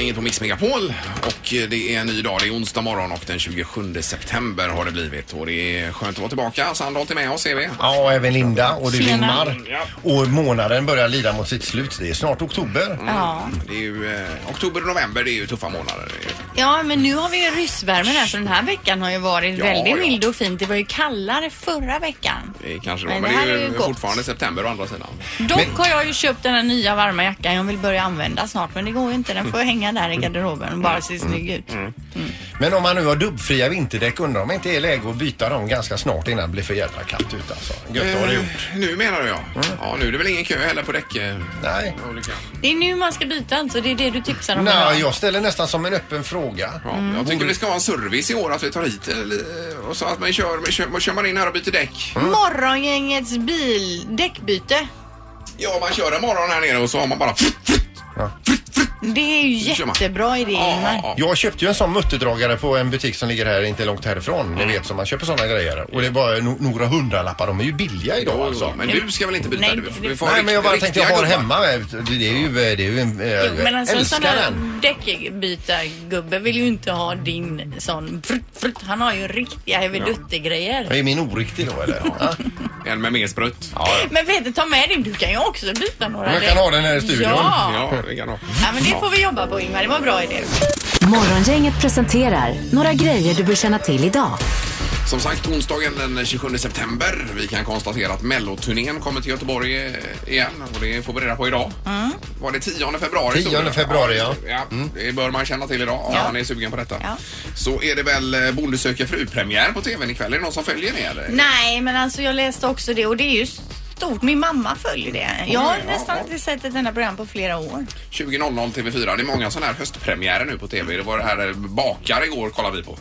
inget på Mix Megapol och eh, det är en ny dag. Det är onsdag morgon och den 27 september har det blivit och det är skönt att vara tillbaka. Sandholt är med oss, ser vi. Ja, och även Linda och du Tjena. Ingmar. Och månaden börjar lida mot sitt slut. Det är snart oktober. Mm. Ja. Det är ju, eh, oktober och november, det är ju tuffa månader. Det är ju- ja, men nu har vi ju ryssvärmen här så den här veckan har ju varit Ja, väldigt ja. mild och fint. Det var ju kallare förra veckan. Det är kanske då, men, Men det det är här ju, är ju gott. fortfarande september å andra sidan. Dock har jag ju köpt den här nya varma jackan jag vill börja använda snart men det går ju inte. Den får hänga där i garderoben och bara se snygg ut. Mm, Men om man nu har dubbfria vinterdäck undrar om inte det är läge att byta dem ganska snart innan det blir för jävla kallt ute alltså. Gött har det gjort. Mm. Eh, Nu menar du ja. Ja, nu är det väl ingen kö heller på däck. eh, Nej. olika. Det är nu man ska byta alltså. Det är det du tipsar om Nej, idag. jag ställer nästan som en öppen fråga. Ja, Mm. Jag tycker vi ska ha en service i år att vi tar hit eh, och så att man kör, man kör, man kör man in här och byter däck. Morgongängets bil, däckbyte. Ja, man kör en morgon här nere och så har man bara... Det är ju Nu kör man. jättebra idé Ja, Ingmar. ja, ja. Jag köpte ju en sån mutterdragare på en butik som ligger här inte långt härifrån. Ni vet som man köper sådana grejer. Och det var no några hundralappar. De är ju billiga idag Jo, alltså. jo, men du ska väl inte byta? Nej, Du- vi får ha Nej, men jag bara rikt- tänkte jag har riktiga hemma. eh, Det det är ju, det är ju en... Jag Jo, men alltså en älskar sån där den. däckbytargubbe vill ju inte ha din sån frutt, frutt. Han har ju riktiga Ja, heveduttegrejer. Är min oriktig då eller? Ja. gubbar. En med mer sprutt. Ja, Men vet du, ta med dig. Du kan ju också byta några. Jag kan däck. ha den här i studion. Ja. ja. det kan ha. men det får vi jobba på Ingmar. Det var en bra idé. Morgongänget presenterar några grejer du bör känna till idag. Som sagt, onsdagen den 27 september. Vi kan konstatera att melloturnén kommer till Göteborg eh, igen och det får vi reda på idag. Var det 10 februari? 10 stod det? Mm. februari, ja. Mm. just det. Det bör man känna till idag om Ja. man är sugen på detta. Ja. Så är det väl eh, Bonde söker fru-premiär på tvn ikväll. Är det någon som följer det? eller? Nej, men alltså jag läste också det och det är ju stort. Min mamma följer det. Jag har Oj, ja, nästan ja. inte sett ett enda program på flera år. 20.00 TV4. Det är många sådana här höstpremiärer nu på tv. Det var det här eh, Bakar igår kollade vi på.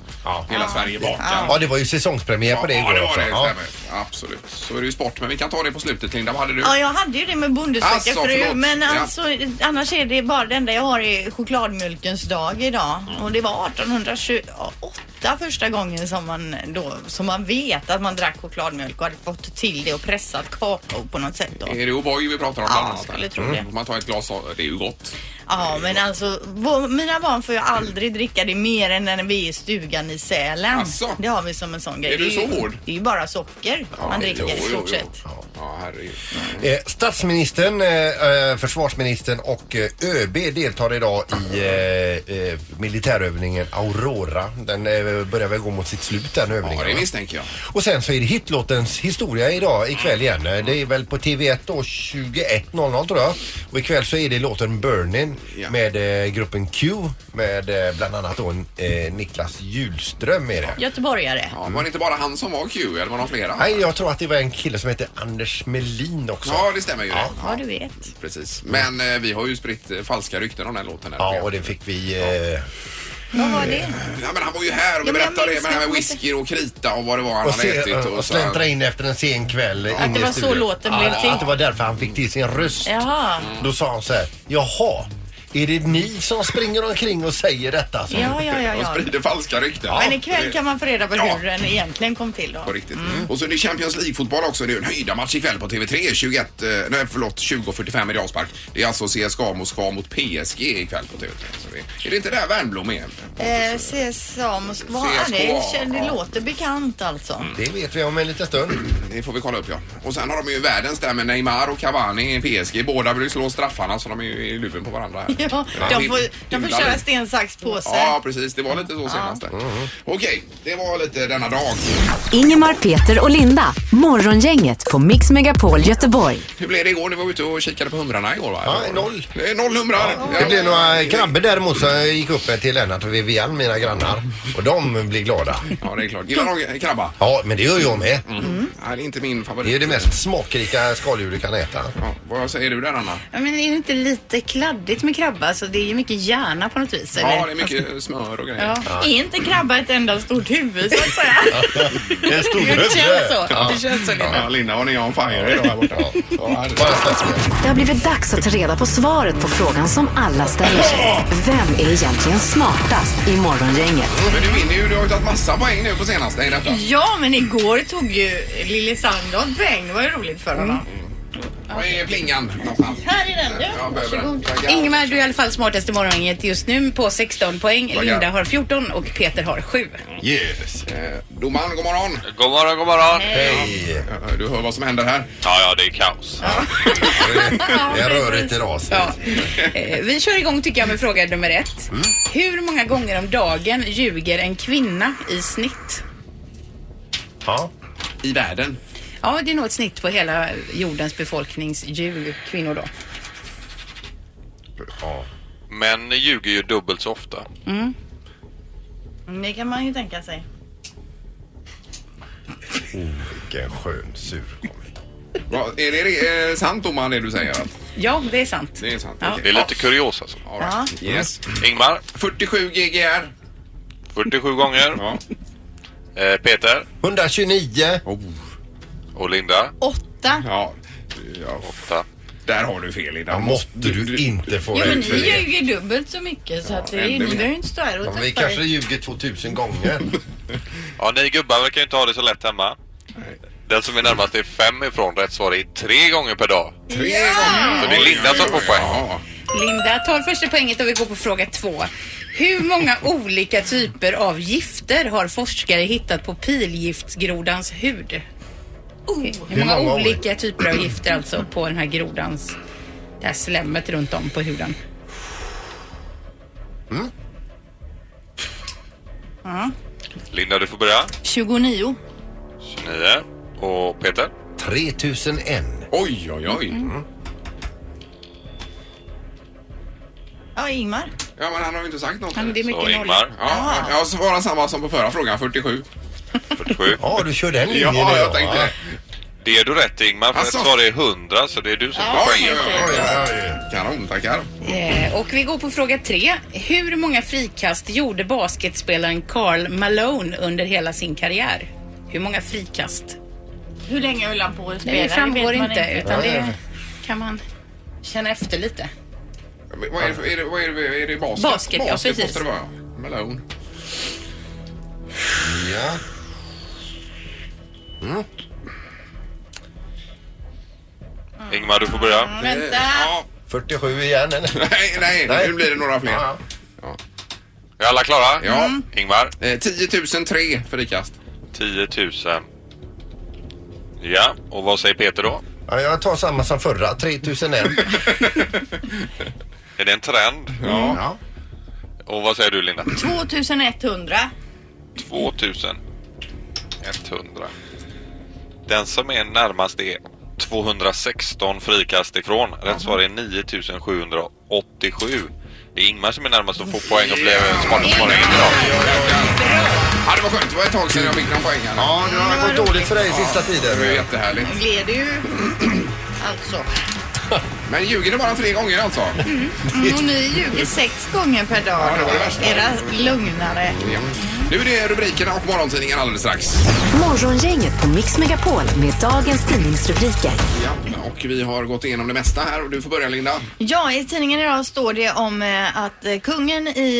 Hela Sverige bakar. Ja, det var ju säsongspremiär på det ja, igår det var också. det. Ja. stämmer. Absolut. Så är det ju sport, men vi kan ta det på slutet Linda. Vad hade du? Ja, jag hade ju det med Bonde Alltså, söker fru. förlåt. Men Ja. alltså, annars är det bara det enda jag har är chokladmjölkens dag idag. Mm. Och det var 1828 första gången som man då, som man vet att man drack chokladmjölk och hade fått till det och pressat kakao på något sätt då. Är det O'boy vi pratar om? Ja, bland annat? skulle tro det. Om Man tar ett glas av, det är ju gott. Ja, men alltså vår, mina barn får ju aldrig dricka det mer än när vi är i stugan i Sälen. Asså? Det har vi som en sån grej. Alltså. Är du det ju- så hård? Det är ju bara socker man dricker Jo, i jo, stort jo. sett. Ja, ja, herregud. Eh, statsministern, eh, eh, försvarsministern och eh, ÖB deltar idag i eh, eh, militärövningen Aurora. Den eh, börjar väl gå mot sitt slut den Ja, övningen. det va? misstänker jag. och sen så är det hitlåtens historia idag ikväll igen. Eh, Det är väl på TV1 då 21.00 tror jag. Och ikväll så är det låten Burning Ja. med eh, gruppen Q med eh, bland annat då en, eh, Niklas Julström är det. Göteborgare. Ja, Var det inte bara han som var Q, eller var det flera? Mm. Nej, jag tror att det var en kille som hette Anders Melin också. Ja, det stämmer ju. det. Ja, du vet. Precis. Men eh, vi har ju spritt eh, falska rykten om den här låten. Här. Ja, och det fick vi... Eh, Vad var det? Ja, Mm. men han var ju här och Ja, men jag berättade det minns med, det här med det. whisky och krita och vad det var han och, hade se, ätit. och så. släntra in efter en sen kväll. in det i var så studion. låten ja, blev till. Att det var därför han fick till sin röst. Jaha. Då sa han så här, jaha, är det ni som springer omkring och säger detta? Så, Ja, ja, ja, De ja. sprider falska rykten. Men ikväll kan man få reda på Ja. hur den egentligen kom till då. På riktigt. Mm. Och så är det Champions League-fotboll också. Det är ju en höjdarmatch ikväll på TV3. 21, eh, nej förlåt, 20.45 i avspark. Det är alltså CSKA Moskva mot PSG ikväll på TV3. Så det, är det inte där Wernbloom är? Eh, alltså. CSA Moskva, CSKA, det, kän- det ja. låter bekant alltså. Mm. Det vet vi om en liten stund. Det får vi kolla upp ja. Och sen har de ju världens där med Neymar och Cavani i PSG. Båda vill ju slå straffarna så de är ju i luven på varandra här. Ja, Ja, de får, de får himla- köra sten, sax, påse. Ja, precis. Det var lite så senast. där. Mm. Okej, det var lite denna dag. Ingemar, Peter och Linda. Morgongänget på Mix Megapol Göteborg. Hur blev det igår? Ni var ute och kikade på humrarna igår va? Ja, noll. Eh, Noll humrar. Det blev några krabbor däremot som gick upp till Lennart och Vivian, mina grannar. Och de blir glada. Ja, det är klart. Gillar de krabba? Ja, men det gör jag med. Mm. Nej, det är inte min Det är favorit. ju det mest smakrika skaldjur du kan äta. Ja, vad säger du där, Anna? Ja, men är det inte lite kladdigt med krabba? Alltså, Så det är ju mycket hjärna på något vis. Ja, det är mycket smör och grejer. Ja. Är inte krabba ett enda stort huvud så att säga? Det är en stor Det känns så. Ja. Det känns så Linda. Ja, Linda, har ni on fire idag här borta? Ja, det- Bara statsminister. Det har blivit dags att ta reda på svaret på frågan som alla ställer sig. Vem är egentligen smartast i Morgongänget? Men du vinner ju. Du har ju tagit massa poäng nu på senaste i detta. Mm. Ja, men igår tog ju Lille Sandholm poäng. Det var ju roligt för honom. Var är plingan någonstans? Här är den du. Jag behöver den. Varsågod. Tackar. Ingemar, du är i alla fall smartast i morgongänget just nu på 16 poäng. Tackar. Linda har 14 och Peter har 7. Yes. Eh, Domaren, god morgon. God morgon, god morgon. Hej. Eh, Du hör vad som händer här. Ja, ja, det är kaos. Det är rörigt idag. så. Ja. Eh, Vi kör igång tycker jag med fråga nummer ett. Mm. Hur många gånger om dagen ljuger en kvinna i snitt? Ja. I världen. Ja, det är nog ett snitt på hela jordens befolkningsljug, kvinnor då. ja. Män ljuger ju dubbelt så ofta. Mm, Det kan man ju tänka sig. Vilken skön sur kommentar. Va, är det är det sant domaren det du säger? Att Ja, det är sant. det är sant? Ja. Det är Okej. lite kuriosa. Alltså. All right. Yes. Ingmar, 47 GGR. 47 gånger. Ja. Eh, Peter 129. Oh. och Linda, Åtta. Ja. ja. 8. Där har du fel Linda. Ja, måtte du inte få Jo men ut ni för det. gör ju dubbelt så mycket så att det, ännu ni mer. behöver ju inte stå här och Ja, men testa vi kanske ljuger 2000 gånger. Ja, ni gubbar verkar ju inte ha det så lätt hemma. Den som är närmast är fem ifrån rätt svar är tre gånger per dag. Tre gånger. Så det är Linda som får poäng. Ja. Linda tar första poänget och vi går på fråga två. Hur många olika typer av gifter har forskare hittat på pilgiftsgrodans hud? Hur många många olika typer av gifter alltså på den här grodans, det här slemmet runt om på huden? Linda, du får börja. 29. 29. Och Peter? 3001. Oj, oj, oj. Mm. Ja, Ingmar. Ja, men han har ju inte sagt något. Ja, men det är mycket Så nollor. Ingmar, Ja, jag svarar samma som på förra frågan, 47. 47. Ja, du kör den linjen ja, jag idag, tänkte va? det. Det är du rätt Ingmar, för Alltså. rätt svar är 100 så det är du som får Oj, poängen. oj, Oj, oj. oj, Kanon, tackar. Eh, och vi går på fråga tre. Hur många frikast gjorde basketspelaren Karl Malone under hela sin karriär? Hur många frikast? Hur länge höll han på att spela? Nej, det framgår vet man inte, utan Nej. det kan man känna efter lite. Men Vad är det, för- är det, vad är det, är det basket? Basket, ja, basket precis. måste det vara. Melon. Ja. Ingmar, du får börja. Vänta. Ja, 47 igen, eller? nej, nej, Nej. nu blir det några fler. Ja. Är alla klara? Ja. Ingmar? Eh, 10 003 för rikast. 10 000. Ja, och vad säger Peter då? Ja, jag tar samma som förra, 3001. Är det en trend? Ja. Och vad säger du Linda? 2100. 2100. Den som är närmast är 216 frikast ifrån. Rätt svar är 9787. Det är Ingmar som är närmast att få poäng och bli smartast morgon idag. Ja, det var skönt. Det var ett tag sedan jag fick någon poäng här. Ja, det har gått dåligt för dig sista Det var ju tiden. jättehärligt. Blev det ju. Alltså. Men ljuger det bara tre gånger alltså? Och ni ljuger sex gånger per dag. Ja, det var det värsta. Era lugnare. Ja. Nu är det rubrikerna och morgontidningen alldeles strax. Morgongänget på Mix Megapol med dagens tidningsrubriker. Ja. Och vi har gått igenom det mesta här och du får börja Linda. Ja, i tidningen idag står det om eh, att eh, kungen i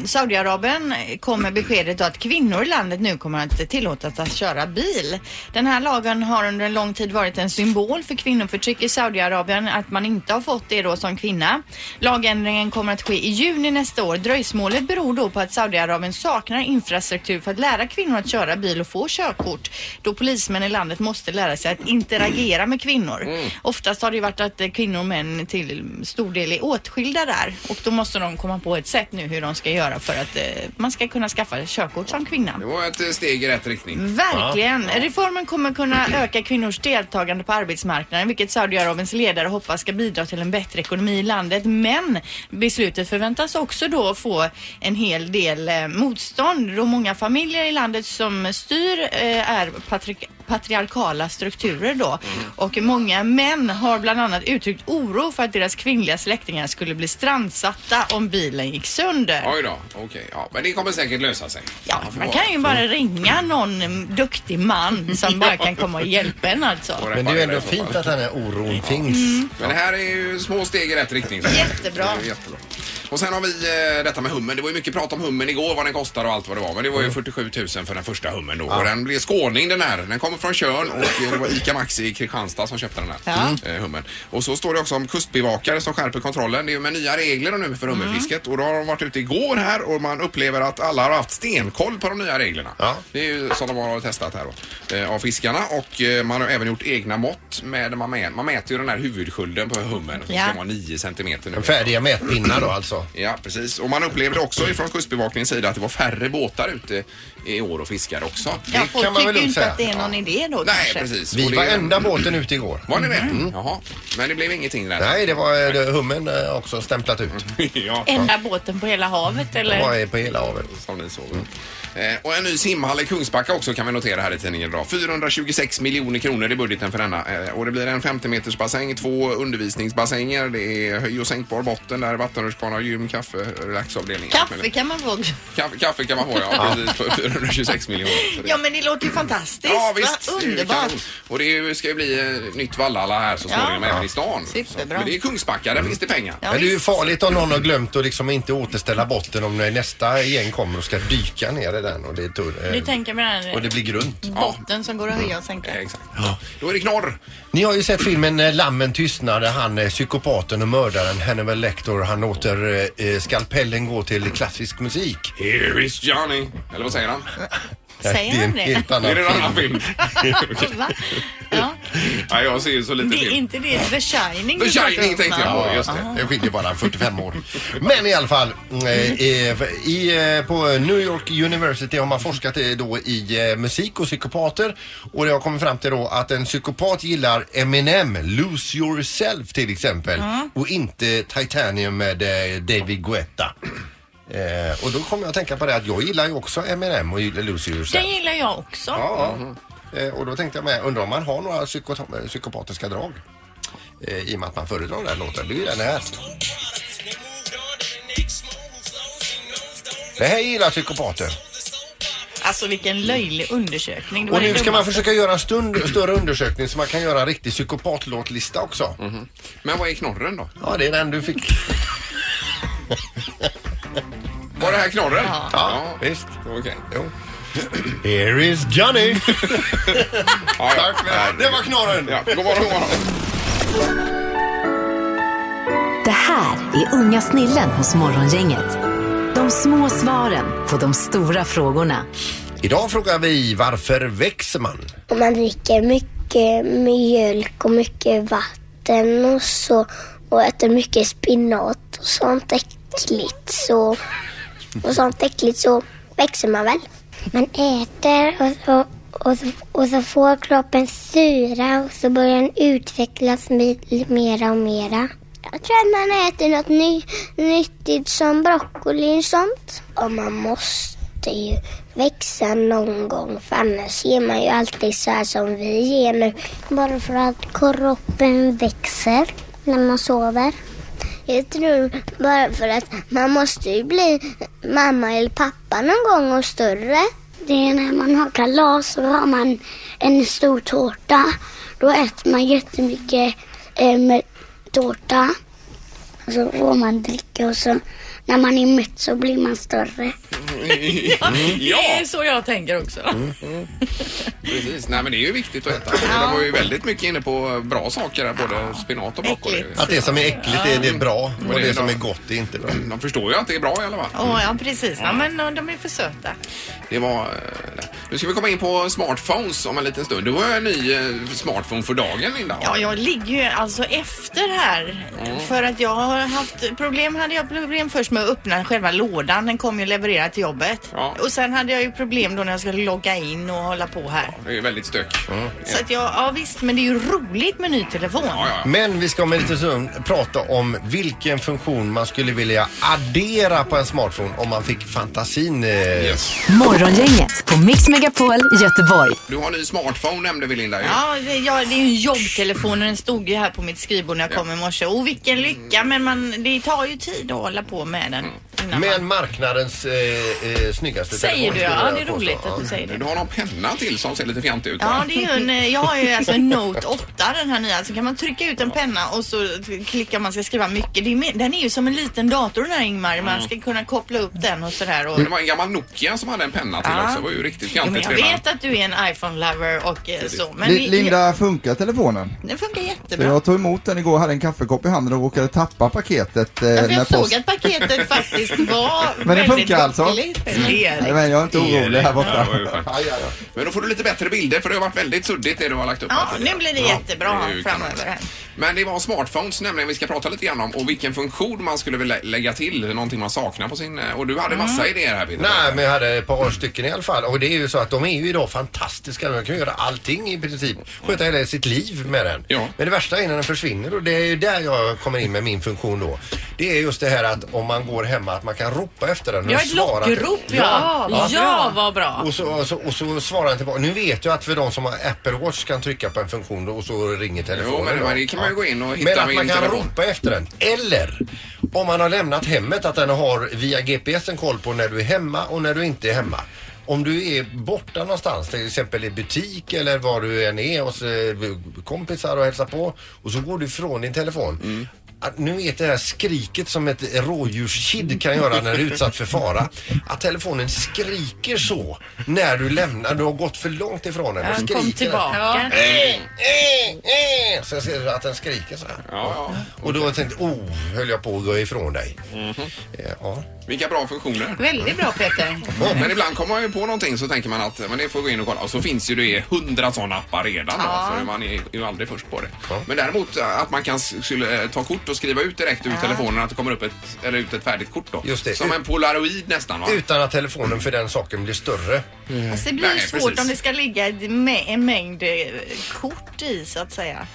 eh, Saudiarabien kom med beskedet att kvinnor i landet nu kommer att tillåtas att köra bil. Den här lagen har under en lång tid varit en symbol för kvinnoförtryck i Saudiarabien, att man inte har fått det då som kvinna. Lagändringen kommer att ske i juni nästa år. Dröjsmålet beror då på att Saudiarabien saknar infrastruktur för att lära kvinnor att köra bil och få körkort då polismän i landet måste lära sig att interagera med kvinnor. Oftast har det ju varit att eh, kvinnor och män till stor del är åtskilda där och då måste de komma på ett sätt nu hur de ska göra för att eh, man ska kunna skaffa körkort som kvinna. Det var ett eh, steg i rätt Mm. riktning. Verkligen. Reformen kommer kunna öka kvinnors deltagande på arbetsmarknaden, vilket Saudiarabiens ledare hoppas ska bidra till en bättre ekonomi i landet. Men beslutet förväntas också då få en hel del eh, motstånd då många familjer i landet som styr eh, är patrik- patriarkala strukturer då. Och många män har bland annat uttryckt oro för att deras kvinnliga släktingar skulle bli strandsatta om bilen gick sönder. Oj då, okej. Ja, men det kommer säkert lösa sig. Ja, får man vara- kan ju bara ringa någon mm, duktig man som bara kan komma och hjälpa en alltså. får Men det är ju reparera ändå i så fall. fint att den här oron finns. Men det här är ju små steg i rätt riktning. så- Jättebra. Det är jättebra. Och sen har vi eh, detta med hummen. Det var ju mycket prat om hummen igår, vad den kostar och allt vad det var. Men det var ju 47 000 för den första hummen då. Och den blev skåning den här. Den kommer från Tjörn och eh, det var ICA Maxi i Kristianstad som köpte den här eh, hummen. Och så står det också om kustbevakare som skärper kontrollen. Det är ju med nya regler nu för hummerfisket. Och då har de varit ute igår här och man upplever att alla har haft stenkoll på de nya reglerna. Ja. Det är ju som de har testat här då, eh, av fiskarna. Och eh, man har även gjort egna mått. Med, man, mä- man mäter ju den här huvudskulden på hummen. som Ja. ska vara 9 centimeter nu. En färdiga mätpinnar då alltså. Ja, precis. Och man upplevde också ifrån Kustbevakningens sida att det var färre båtar ute i år och fiskar också. Ja, folk kan man väl tycker ju inte säga. att det är någon idé då Nej, kanske. precis. Och Vi det- var enda Mm. båten ute igår. Var ni det? Jaha. Men det blev ingenting där. Nej, det var eh, det- hummen eh, också stämplat ut. Mm. ja, Enda båten på hela havet eller? Det var eh, på hela havet. som ni såg. Eh, och en ny simhall i Kungsbacka också kan vi notera här i tidningen idag. 426 miljoner kronor i budgeten för denna. Eh, och det blir en 50 meters bassäng, två undervisningsbassänger, det är höj och sänkbar botten där, vattenrutschkana, gym, kaffe, relaxavdelning. Kaffe kan man få. kaffe, kaffe kan man få ja, precis. För 426 miljoner. Så det- Ja men det låter ju fantastiskt. Ja Va? visst, det är ju Underbart. kanon. Och det är ju- ska ju bli eh, nytt Vallala här så småningom även i stan. Superbra. Så- Men det är Kungsbacka, där finns det pengar. Ja, Men det är ju visst. farligt om någon har glömt att liksom inte återställa botten om nästa gäng kommer och ska dyka ner i den och det, är tur, eh, Du tänker på den och det här blir grunt. botten som går att höja och sänka. Eh, Exakt. Då är det knorr. Ni har ju sett filmen eh, Lammen tystnar där han eh, psykopaten och mördaren Hannibal Lecter han låter eh, eh, skalpellen gå till klassisk musik. Here is Johnny. Eller vad säger han? Säger är han en det? helt annan Är det en film. annan film? Va? Ja. Nej, jag ser ju så lite Det är film. inte det The Shining The du pratar Shining om, tänkte jag va? på, just det. Det skiljer bara 45 år. Men i alla fall, eh, eh, i, eh, på New York University har man forskat eh, då i eh, musik och psykopater och det har kommit fram till då att en psykopat gillar Eminem, Lose Yourself till exempel och inte Titanium med eh, David Guetta. Eh, och då kommer jag att tänka på det att jag gillar ju också Eminem och gillar Lose Den Yourself. gillar jag också. Ja, ja. Eh, och då tänkte jag med, undrar om man har några psykota- psykopatiska drag? Eh, I och med att man föredrar den här låten. Det är ju den här. Det här gillar psykopater. Alltså vilken löjlig undersökning. Det var Och nu det ska man dummaste. försöka göra en stund, större undersökning så man kan göra en riktig psykopatlåtlista också. Men vad är knorren då? Ja, det är den du fick. Var det här knorren? Ja, visst. Okej. Jo. Here is Johnny. Ja, ja. Tack för det. Det var knorren. Ja, god morgon, god morgon. Det här är unga snillen hos Morgongänget. De små svaren på de stora frågorna. Idag frågar vi varför växer man? Om man dricker mycket mjölk och mycket vatten och så och äter mycket spinat och sånt äckligt så, och sånt äckligt så växer man väl. Man äter och så, och, så, och så får kroppen syra och så börjar den utvecklas mi- mera och mera. Jag tror att man äter något ny, nyttigt som broccoli och sånt. Och man måste ju växa någon gång för annars är man ju alltid så här som vi är nu. Bara för att kroppen växer när man sover. Jag tror bara för att man måste ju bli mamma eller pappa någon gång och större. Det är när man har kalas och har man en stor tårta. Då äter man jättemycket eh, med tårta. Och så får man dricka och så när man är mätt så blir man större. Ja. Det är så jag tänker också. Precis. Nej, men det är ju viktigt att äta. De var ju väldigt mycket inne på bra saker här, både spinat och broccoli. Äckligt. Att det som är äckligt är, det är bra och det är det som bra. är gott är inte bra. De förstår ju att det är bra i alla fall. Åh, ja precis. Ja, men eh, de är för söta. Det var... eh, det. Nu ska vi komma in på smartphones om en liten stund. Du har ju en ny eh, smartphone för dagen, Linda. Ja, jag ligger ju alltså efter här. För att jag har haft problem, hade jag problem först med att öppna själva lådan. Den kom ju levererad till jobbet. Ja. Och sen hade jag ju problem då när jag skulle logga in och hålla på här. Det är ju väldigt stök. Så att jag, ja visst, men det är ju roligt med ny telefon. ja. Men vi ska om en liten stund prata om vilken funktion man skulle vilja addera på en smartphone om man fick fantasin. Eh, Yes. Morgongänget på Mix Megapol Göteborg. Du har en ny smartphone nämnde vi, Linda. ju. Ja, det, ja, det är ju en jobbtelefon och den stod ju Mm. här på mitt skrivbord när jag kom i morse. Och vilken lycka, men man, det tar ju tid att hålla på med den. innan Men man... marknadens eh, eh, snyggaste Säger telefon, du? skulle jag Ja, det är påstå. roligt Ja. att du säger det. Du har någon penna till som ser lite fjantig ut. Ja, va? det är ju en, eh, jag har ju alltså en Note 8 den här nya. Så kan man trycka ut en penna och så t- klickar man ska skriva mycket. Det är, mer- den är ju som en liten dator den här Ingmar. Man ska kunna koppla upp den och sådär. Och, Men Det var en gammal Nokia som hade en penna till Ja. också. Det var ju riktigt jo, men fjantigt jag vet att du är en iPhone-lover och eh, så. Men Li- vi- Linda, funkar telefonen? Den funkar För jättebra. jag tog emot den igår, hade en kaffekopp i handen och råkade tappa paketet. eh, Ja, för jag post- såg att paketet faktiskt var Men det väldigt funkar alltså? buckligt. Nej, men jag är inte orolig här borta. Ja, det var ju skönt. Men då får du lite bättre bilder för det har varit väldigt suddigt det du har lagt upp. Ja, här tidigare. nu blir det Ja, jättebra det är ju framöver. kanon. här. Men det var smartphones nämligen vi ska prata lite grann om och vilken funktion man skulle vilja lägga till, någonting man saknar på sin... eh, Och du hade massa Mm. idéer här Peter. Nej, men jag hade ett par stycken i alla fall. Och det är ju så att de är ju idag fantastiska. Man kan göra allting i princip. Sköta hela sitt liv med den. Ja. Men det värsta är när den försvinner och det är ju där jag kommer in med min funktion då. Det är just det här att om man går hemma att man kan ropa efter den. och Jag har den ett svarar. lockrop, ja. Ja, vad bra. Och så, och, så, och så svarar den tillbaka. Nu vet jag att för de som har Apple Watch kan trycka på en funktion då och så ringer telefonen. Jo, men det- då. men det kan man ju gå in och hitta Men att min man kan telefon. ropa efter den. Eller om man har lämnat hemmet att den har via GPSen koll på när du är hemma och när du inte är hemma. Om du är borta någonstans, till exempel i butik eller var du än är hos eh, kompisar och hälsar på och så går du ifrån din telefon. Mm. Att nu vet det här skriket som ett rådjurskid kan göra när du är utsatt för fara. Att telefonen skriker så när du lämnar, du har gått för långt ifrån den. Den Kom skriker. tillbaka. Eh, eh. Så jag ser att den skriker så här. Ja, ja. Och då tänkte jag, oh, höll jag på att gå ifrån dig. Mhm. Eh, Ja. Vilka bra funktioner. Väldigt bra Peter. Men ibland kommer man ju på någonting så tänker man att men det får jag gå in och kolla. Och så finns ju det hundra sådana appar redan då, för man är ju aldrig först på det. Ja. Men däremot eh, att man kan s- skulle, eh, ta kort och skriva ut direkt ur telefonen att det kommer upp ett, eller ut ett färdigt kort då. Just det. Som en polaroid nästan va? Utan att telefonen för den saken blir större. Alltså, det blir ju Nej, svårt precis. om det ska ligga ett mä- en mängd eh, kort i så att säga.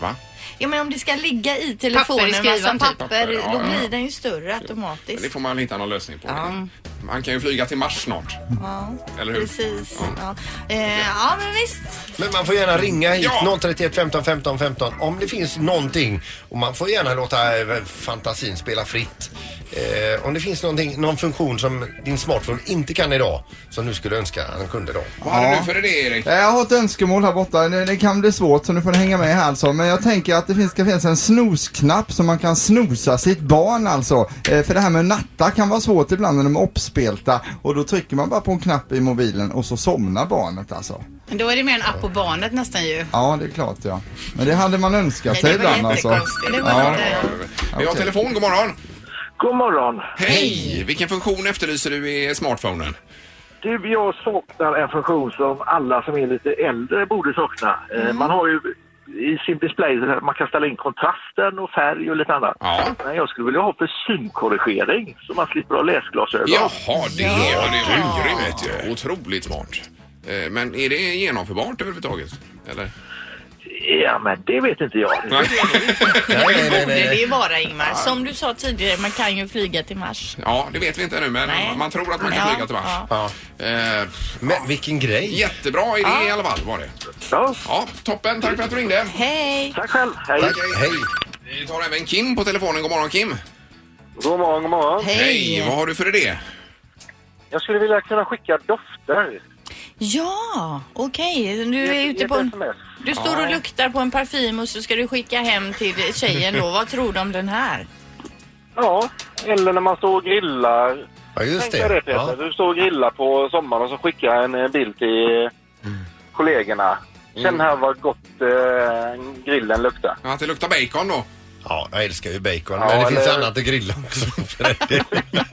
Va? Ja men om det ska ligga i telefonen, Papper i skrivan, massa typ. papper, Papper, ja, då ja. blir den ju större Men det automatiskt. får man hitta någon lösning på. Man kan ju flyga till Mars snart. Ja, Eller hur? precis. Ja. Eh, ja men visst. Men man får gärna ringa hit Ja. 031 15 15 15 om det finns någonting. Och man får gärna låta eh, fantasin spela fritt. Eh, om det finns någonting, någon funktion som din smartphone inte kan idag som du skulle önska att den kunde då. Vad hade Ja. du för idé Erik? Eh, Jag har ett önskemål här borta, det, det kan bli svårt så nu får ni hänga med här alltså. Men jag tänker att det finns, ska finnas en snosknapp så man kan snosa sitt barn alltså. Eh, för det här med natta kan vara svårt ibland när de är uppspelta och då trycker man bara på en knapp i mobilen och så somnar barnet alltså. Men Då är det mer en app på barnet nästan ju. Ja, det är klart ja. Men det hade man önskat sig Nej, det var ibland alltså. jättekonstigt. Det var Ja. inte- Vi har Okej. telefon, god morgon. God morgon. Hej! Vilken funktion efterlyser du i smartphonen? Du, jag saknar en funktion som alla som är lite äldre borde sakna. Eh, Mm. Man har ju i sin display, så här, man kan ställa in kontrasten och färg och lite annat. Ja. Men jag skulle vilja ha för synkorrigering så man slipper ha läsglasögon. Jaha, det var det var grymt ju. Otroligt smart. Eh, Men är det genomförbart överhuvudtaget? Eller? Ja, men det vet inte jag. Nej, nej, Borde det ju vara Ingmar. Som du sa tidigare, man kan ju flyga till Mars. Ja, det vet vi inte ännu men Nej. man tror att man kan Ja, flyga till Mars. Ja. Eh, Men vilken grej. jättebra idé i alla fall var det. Ja, Ja, toppen, tack för att du ringde. Hej! tack själv. Hej. Tack. Hej. Vi tar även Kim på telefonen. God morgon Kim. God morgon, god morgon. Hej, vad har du för idé? Jag skulle vilja kunna skicka dofter. Ja, okej. Du är ute på en... Du står och luktar på en parfym och så ska du skicka hem till tjejen då. Vad tror du om den här? Ja, eller när man står och grillar. Ja, just Tänk dig det det. Peter, Ja. du står och grillar på sommaren och så skickar jag en eh, bild till eh, kollegorna. Känn här vad gott eh, grillen luktar. Att det luktar bacon då? ja, jag älskar ju bacon. Ja, men det finns eller- annat att grilla också.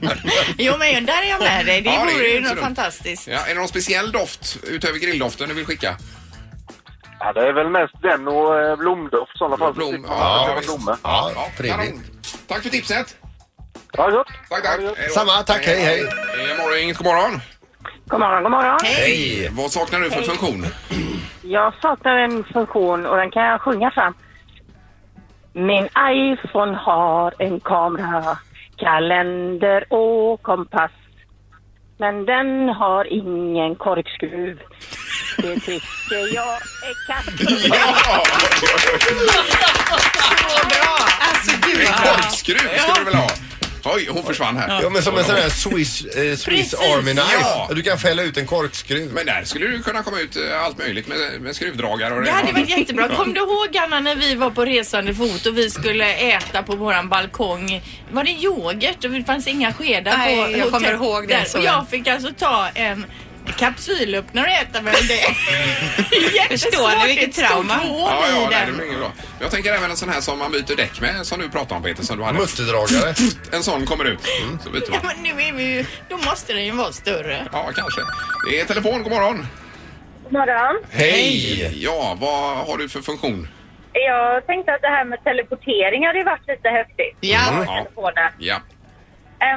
Jo, men där är jag med dig. Det Ja, det är vore ju inte så något dumt. fantastiskt. Ja, är det någon speciell doft utöver grilldoften du vill skicka? Ja, det är väl mest den och eh, blomdoft i sådana fall. Blom, Slipper man ja, köpa visst. blommor. Ja, kanon. trevligt. Tack för tipset. Ja, gott. Tack, Ha tack. det gott. Hej då. Samma, tack. Hej, hej. Eh, morgon, inget god morgon. God morgon, god morgon. Hej. Vad saknar du för funktion? Jag saknar en funktion och den kan jag sjunga fram. Min iPhone har en kamera, kalender och kompass. Men den har ingen korkskruv. Det tycker jag är katt. Ja, Alltså gud Alltså, korkskruv skulle du väl ha? Oj, hon försvann här. Ja, men som en sån här Swiss, eh, Swiss Precis, Army Knife. ja. Du kan fälla ut en korkskruv. Men där skulle du kunna komma ut eh, allt möjligt med, med skruvdragare och Det hade Ja. varit jättebra. Kom du ihåg Anna när vi var på resande fot och vi skulle äta på våran balkong? Var det yoghurt och det fanns inga skedar Nej, på jag kommer ihåg det, där. så Och väl. jag fick alltså ta en kapsylöppnare och äta med det. Förstår ni vilket Ett stort trauma? hål Ja, i ja, nej, det den. blir inget bra. Men Jag tänker även en sån här som man byter däck med som du pratade om Peter, som du hade. Mutterdragare. En sån kommer ut. Mm. Så byter Ja, man. men nu är vi ju, då måste den ju vara större. Ja, kanske. Det är telefon, god morgon. Morgon. Hej! Ja, vad har du för funktion? Jag tänkte att det här med teleportering hade ju varit lite häftigt. Ja. Ja. Telefonen. Ja. Äm,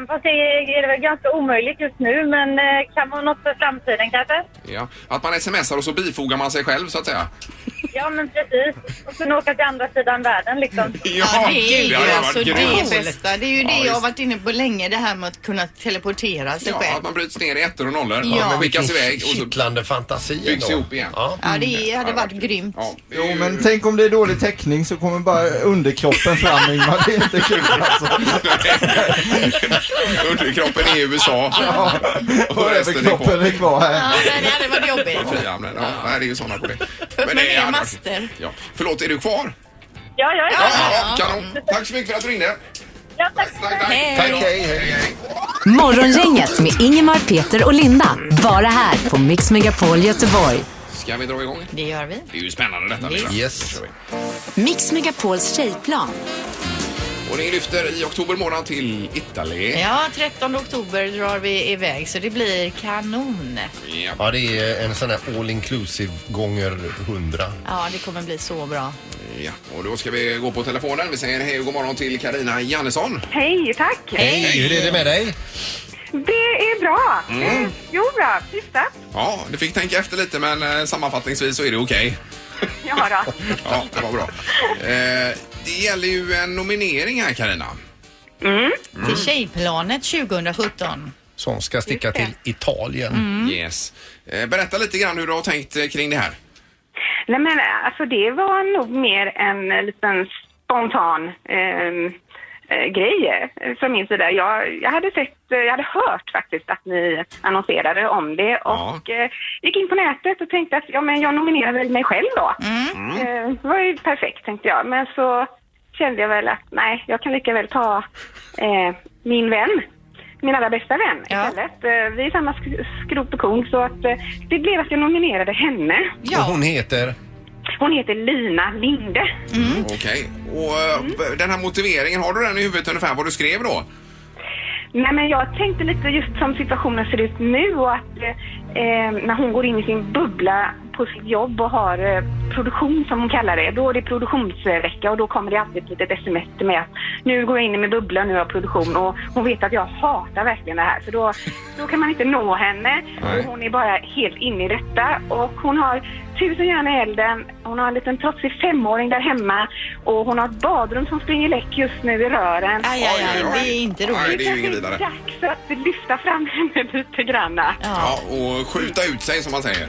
Ehm, Fast det är det väl ganska omöjligt just nu, men eh, kan vara något för framtiden kanske? ja. Att man smsar och så bifogar man sig själv så att säga. Ja, men precis. Och sen åka till andra sidan världen liksom. Ja, det är ju hade varit alltså grymt. det bästa. Det är ju det jag visst. har varit inne på länge, det här med att kunna teleportera sig Ja, själv. att man bryts ner i ettor och nollor. Ja. Ja. Skickas iväg och så Kittlande fantasi Byggs ändå. ihop igen. Ja. Ja, det hade varit grymt. Mm. Ja, det är Jo, ju- men tänk om det är dålig täckning så kommer bara underkroppen fram Ingmar. Det är inte kul alltså. Underkroppen är i USA. Och överkroppen är kvar här. Ja, nej, det hade varit jobbigt. Frihamnen. Ja, nej, det är ju sådana problem. Men det är hade varit- master. Ja. Förlåt, är du kvar? Ja, ja, Ja, ja. ja, kanon. Tack så mycket för att du ringde. ja tack. Tack, tack. Tack, hej, hej. Morgongänget med Ingemar, Peter och Linda. Bara här på Mix Megapol Göteborg. Ska vi dra igång? Det gör vi. Det är ju spännande detta. Linda. Yes. Mix Megapols tjejplan. Och ni lyfter i oktober månad till Italien. Ja, 13 oktober drar vi iväg så det blir kanon. Ja. Ja, det är en sån här all inclusive gånger hundra. Ja, det kommer bli så bra. ja. Och då ska vi gå på telefonen. Vi säger hej och god morgon till Karina Jannesson. Hej, tack. Hej, hur är det med dig? Det är bra. Mm. Jo, bra. Hyfsat. Ja, du fick tänka efter lite men eh, sammanfattningsvis så är det okej. Ja, då. Ja, det var bra. Eh, det gäller ju en nominering här Karina. Mm. Till Tjejplanet 2017. Som ska sticka till Italien. Mm, Yes. Eh, berätta lite grann hur du har tänkt eh, kring det här. Nej, men alltså det var nog mer en eh, liten spontan ehm, eh, grej eh, från min sida. Jag, jag hade sett, eh, jag hade hört faktiskt att ni annonserade om det och eh, gick in på nätet och tänkte att ja, men jag nominerar väl mig själv då. Eh, det var ju perfekt tänkte jag, men så kände jag väl att nej, jag kan lika väl ta eh, min vän. Min allra bästa vän Ja. istället. Eh, Vi är samma sk- skrot och korn så att eh, det blev att jag nominerade henne. Och Ja, hon heter? Hon heter Lina Linde. Okej. Och eh, den här motiveringen, har du den i huvudet ungefär vad du skrev då? Nej, men jag tänkte lite just som situationen ser ut nu och att eh, när hon går in i sin bubbla på sitt jobb och har eh, produktion som hon kallar det, då är det produktionsvecka och då kommer det alltid ett litet sms till mig att nu går jag in i min bubbla, nu har jag produktion och hon vet att jag hatar verkligen det här för då, då kan man inte nå henne Nej. och hon är bara helt inne i detta och hon har tusen järn i elden, hon har en liten trotsig femåring där hemma och hon har ett badrum som springer läck just nu i rören. aj, aj, aj, det är inte Nej, roligt. det är ju ingen vidare. Dags att lyfta fram henne lite granna. Ja, och skjuta ut sig som man säger.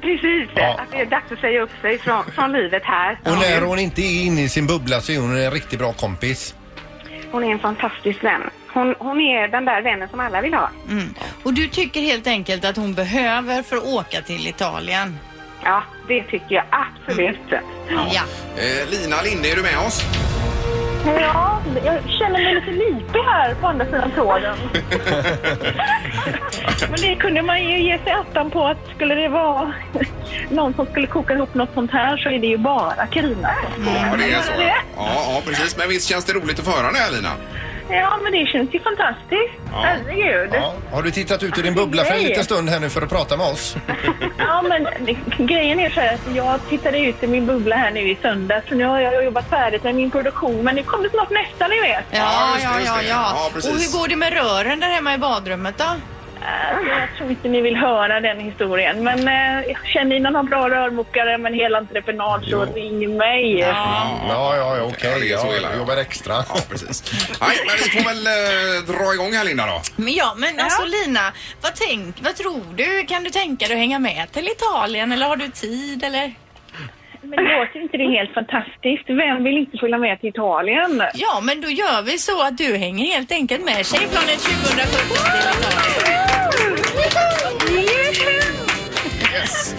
Precis, Ja. att det är dags att säga upp sig från, från livet här. Och när hon inte är inne i sin bubbla så är hon en riktigt bra kompis. Hon är en fantastisk vän. Hon, hon är den där vännen som alla vill ha. Mm. Och du tycker helt enkelt att hon behöver för att åka till Italien? Ja, det tycker jag absolut. Ja. Eh, Lina Linde, är du med oss? Ja, jag känner mig lite lite här på andra sidan tråden. Men det kunde man ju ge sig attan på att skulle det vara någon som skulle koka ihop något sånt här så är det ju bara Carina. Ja, det är så. Ja, ja, precis. Men visst känns det roligt att få höra det här Lina? Ja, men det känns ju fantastiskt. Herregud. Ja. Har du tittat ut ur din bubbla för en Nej. liten stund här nu för att prata med oss? Ja, men det- grejen är så här att jag tittade ut i min bubbla här nu i söndags så nu har jag jobbat färdigt med min produktion men nu kommer snart nästa ni vet. Ja, Ja, just det, ja, just ja, det. ja. Ja, Och precis. hur går det med rören där hemma i badrummet då? Alltså, jag tror inte ni vill höra den historien men eh, känner ni någon bra rörmokare men hela entreprenad så ring mig. Ja, ja, ja okej. Ja, det är så illa, jag ja. jobbar extra. Ja, precis. Nej, men vi får väl eh, dra igång här Linda då. Men ja, men alltså Lina, vad, tänk, vad tror du? Kan du tänka dig att hänga med till Italien eller har du tid eller? men låter inte det helt fantastiskt? Vem vill inte följa med till Italien? Ja, men då gör vi så att du hänger helt enkelt med Tjejplanet 2017 Yes.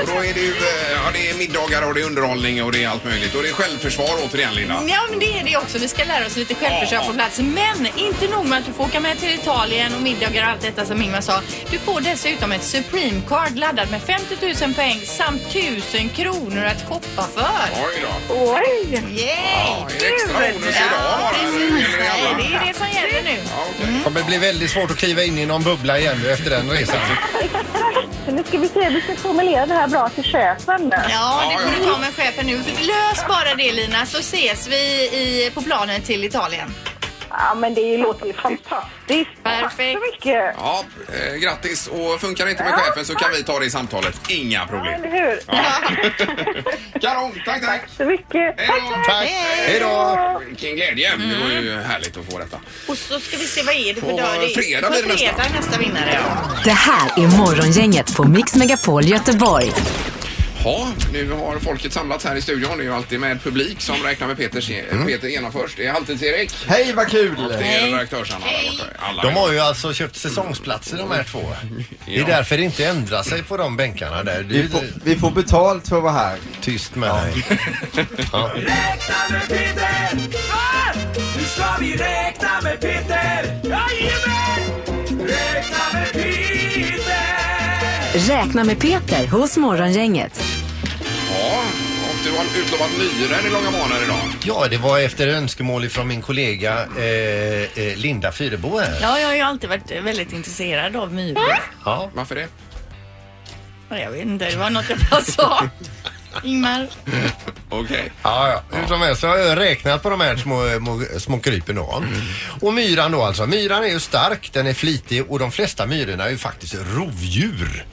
Och då är det ju, eh, ja det är middagar och det är underhållning och det är allt möjligt. Och det är självförsvar återigen Linda. Ja, men det är det också. Vi ska lära oss lite självförsvar på plats. Men inte nog med att du får åka med till Italien och middagar och allt detta som Ingmar sa. Du får dessutom ett Supreme-card laddat med 50 000 poäng samt 1000 kronor att shoppa för. Oj då. Oj! Yay! Är det extra bonus idag bara? eller gäller det alla? Det är det som gäller nu. Ja, okej. Det kommer bli väldigt svårt att kliva in i någon bubbla igen nu efter den resan. Så nu ska vi se, vi ska formulera det här bra till chefen. Ja, det får du ta med chefen nu. Lös bara det Lina, så ses vi i, på planen till Italien. Ja, men det låter ju fantastiskt. Perfekt. Tack så mycket. Ja, eh, grattis. Och funkar det inte med chefen så kan vi ta det i samtalet. Inga problem. Eller hur? Kanon, tack, tack. Så mycket. Hej då. Tack! Hej då! Vilken glädje. Det var ju härligt att få detta. Och så ska vi se, vad är det för På dag? Det är- fredag på blir det fredag nästa. nästa vinnare. Ja. Det här är Morgongänget på Mix Megapol Göteborg. Ja, nu har folket samlats här i studion. Det är ju alltid med publik som räknar med Peters, Mm. Peter genomförst. Det är Halvtids-Erik. Hej vad kul! Det är redaktörs-Anna där borta. Alla De vet. har ju alltså köpt säsongsplatser de här två. Det är Ja. därför det inte ändrar sig på de bänkarna där. Det är Vi ju får, vi får betalt för att vara här. tyst med dig. Ja. Nu ska vi räkna med Peter! Jajamän! Räkna med Peter! Räkna med Peter hos Morgongänget. Ja, och du har utlovat myror i långa månader idag. ja, det var efter önskemål från min kollega eh, eh, Linda Fyrebo här. ja, jag har ju alltid varit väldigt intresserad av myror. Ja. Varför det? Jag vet inte, det var något jag bara sa. Ingmar. Okej. Ja, ja. Hur som helst så har jag räknat på de här små, små, små krypen då. Mm. Och myran då alltså. Myran är ju stark, den är flitig och de flesta myrorna är ju faktiskt rovdjur.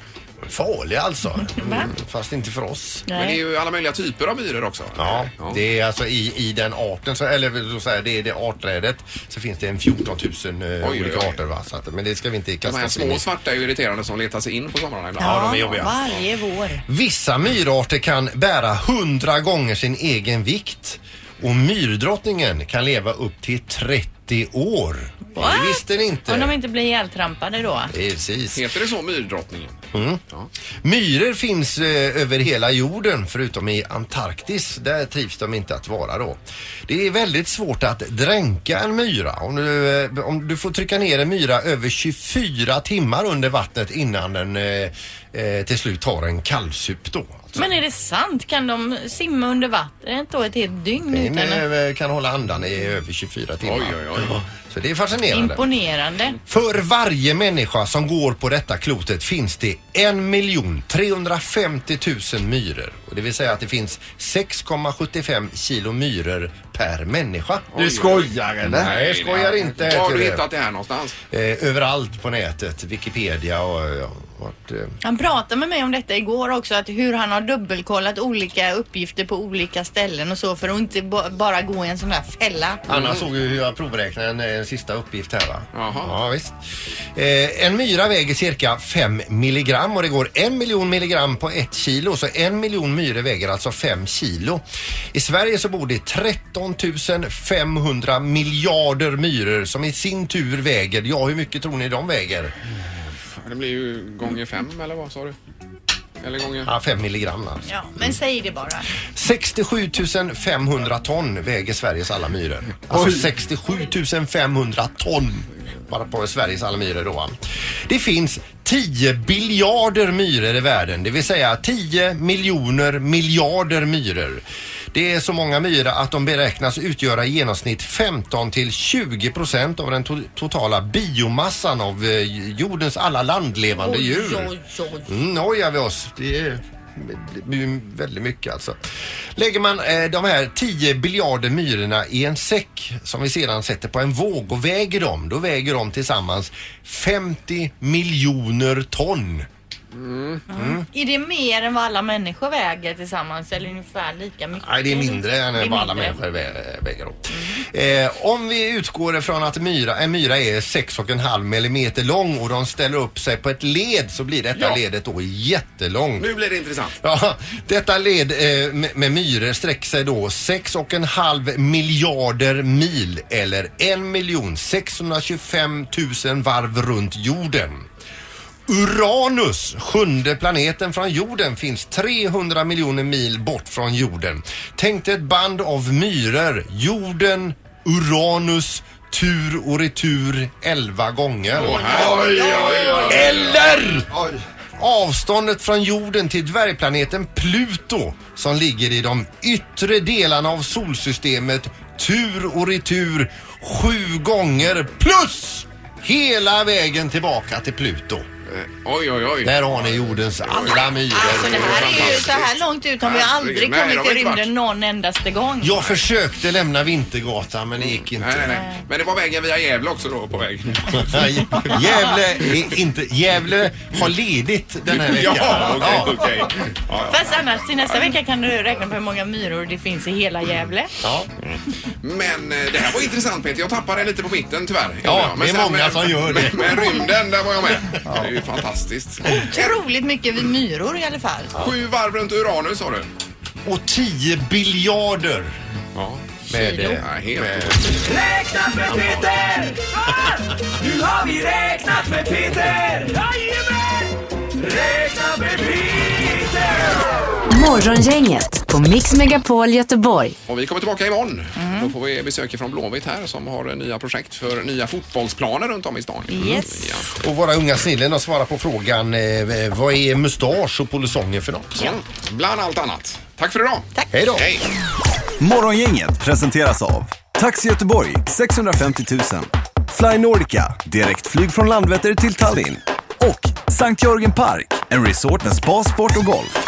Farliga alltså. Mm, fast inte för oss. Men det är ju alla möjliga typer av myror också. Ja, det är alltså i, i den arten, så, eller vill jag säga, det är det artträdet, så finns det en 14 000 eh, oj, olika oj. arter. Va? Så att, men det ska vi inte De kasta här oss in små i. svarta är ju irriterande som letar sig in på somrarna ibland. de är jobbiga. Varje vår. Vissa myrarter kan bära 100 gånger sin egen vikt och myrdrottningen kan leva upp till 30 år. Det visste ni Om de inte. inte blir ihjältrampade då. Precis. Heter det så, myrdrottningen? Myror finns eh, över hela jorden förutom i Antarktis. Där trivs de inte att vara då. Det är väldigt svårt att dränka en myra. Om du, eh, om du får trycka ner en myra över 24 timmar under vattnet innan den eh, eh, till slut tar en kallsup då. Men är det sant? Kan de simma under vattnet då ett helt dygn Den utan att... eh, kan hålla andan i över 24 timmar. Oj, oj, oj. Så det är fascinerande. Imponerande. För varje människa som går på detta klotet finns det 1 miljon 350 000 myror. Och det vill säga att det finns 6,75 kilo myror per människa. Du skojar eller? Nej, jag skojar inte. Var har till du det. hittat det här någonstans? Eh, överallt på nätet, Wikipedia och... Ja, vart, eh. Han pratade med mig om detta igår också, att hur han har dubbelkollat olika uppgifter på olika ställen och så för att inte ba- bara gå i en sån där fälla. Anna såg ju hur jag provräknade en, en sista uppgift här va? Jaha. Ja, visst. Eh, en myra väger cirka 5 milligram och det går en miljon milligram på ett kilo så en miljon myror väger alltså 5 kilo. I Sverige så bor det 13 500 miljarder myror som i sin tur väger, ja hur mycket tror ni de väger? Det blir ju gånger fem eller vad sa du? Eller gånger... Ja, 5 milligram alltså. Ja, men säg det bara. 67 500 ton väger Sveriges alla myror. Alltså 67 500 ton bara på Sveriges alla myror då. va. Det finns 10 biljarder myror i världen, det vill säga 10 miljoner miljarder myror. Det är så många myror att de beräknas utgöra i genomsnitt 15 till 20 procent av den to- totala biomassan av eh, jordens alla landlevande djur. Mm, Nojar vi oss. Det är det blir ju väldigt mycket alltså. Lägger man eh, de här 10 biljarder myrorna i en säck som vi sedan sätter på en våg och väger dem, då väger de tillsammans 50 miljoner ton. Mm. Är det mer än vad alla människor väger tillsammans eller ungefär lika mycket? Nej, det är mindre än Det är vad alla mindre. människor vä- väger då. Eh, om vi utgår från att myra, en myra är 6,5 millimeter lång och de ställer upp sig på ett led så blir detta Ja. ledet då jättelångt. Nu blir det intressant. Ja, detta led eh, med, med myror sträcker sig då 6,5 miljarder mil eller 1 625 000 varv runt jorden. Uranus, sjunde planeten från jorden, finns 300 miljoner mil bort från jorden. Tänk dig ett band av myror, jorden, Uranus, tur och retur 11 gånger. Eller avståndet från jorden till dvärgplaneten Pluto som ligger i de yttre delarna av solsystemet tur och retur sju gånger plus hela vägen tillbaka till Pluto. Eh, Oj, oj, oj. Där har ni jordens alla myror. Alltså det här är ju så här långt ut har vi Nej, aldrig de kommit har till inte varit. rymden någon endaste gång. Jag försökte lämna Vintergatan men det gick inte. Nej, nej, nej. Men det var vägen via Gävle också då på väg. Gävle, är inte, Gävle har ledigt den här veckan. Ja, okej, okej. Fast annars till nästa vecka kan du räkna på hur många myror det finns i hela Gävle. Ja. Men eh, det här var intressant Peter. Jag tappade lite på mitten tyvärr. Ja, men det är sen många som gör det. Men, men rymden, där var jag med. Det är ju fantastiskt. Otroligt mycket vid myror i alla fall. Sju varv runt Uranus sa du. Och 10 biljarder. Ja. Med, eh, helt med, Räknat med Peter! Ah! Nu har vi räknat med Peter! Jajamän! Räknat med Peter! Morgongänget på Mix Megapol Göteborg. Och vi kommer tillbaka imorgon. Mhm. Då får vi besök från Blåvitt här som har eh, nya projekt för nya fotbollsplaner runt om i stan. Mm. Yes. eh, Och våra unga snillen har svarat på frågan eh, vad är mustasch och polisonger för något? Ja. Bland allt annat. Tack för idag. Tack. Hej då. Hej. Morgongänget presenteras av Taxi Göteborg 650 000 Fly Nordica, direktflyg från Landvetter till Tallinn och Sankt Jörgen Park, en resort med spa, sport och golf.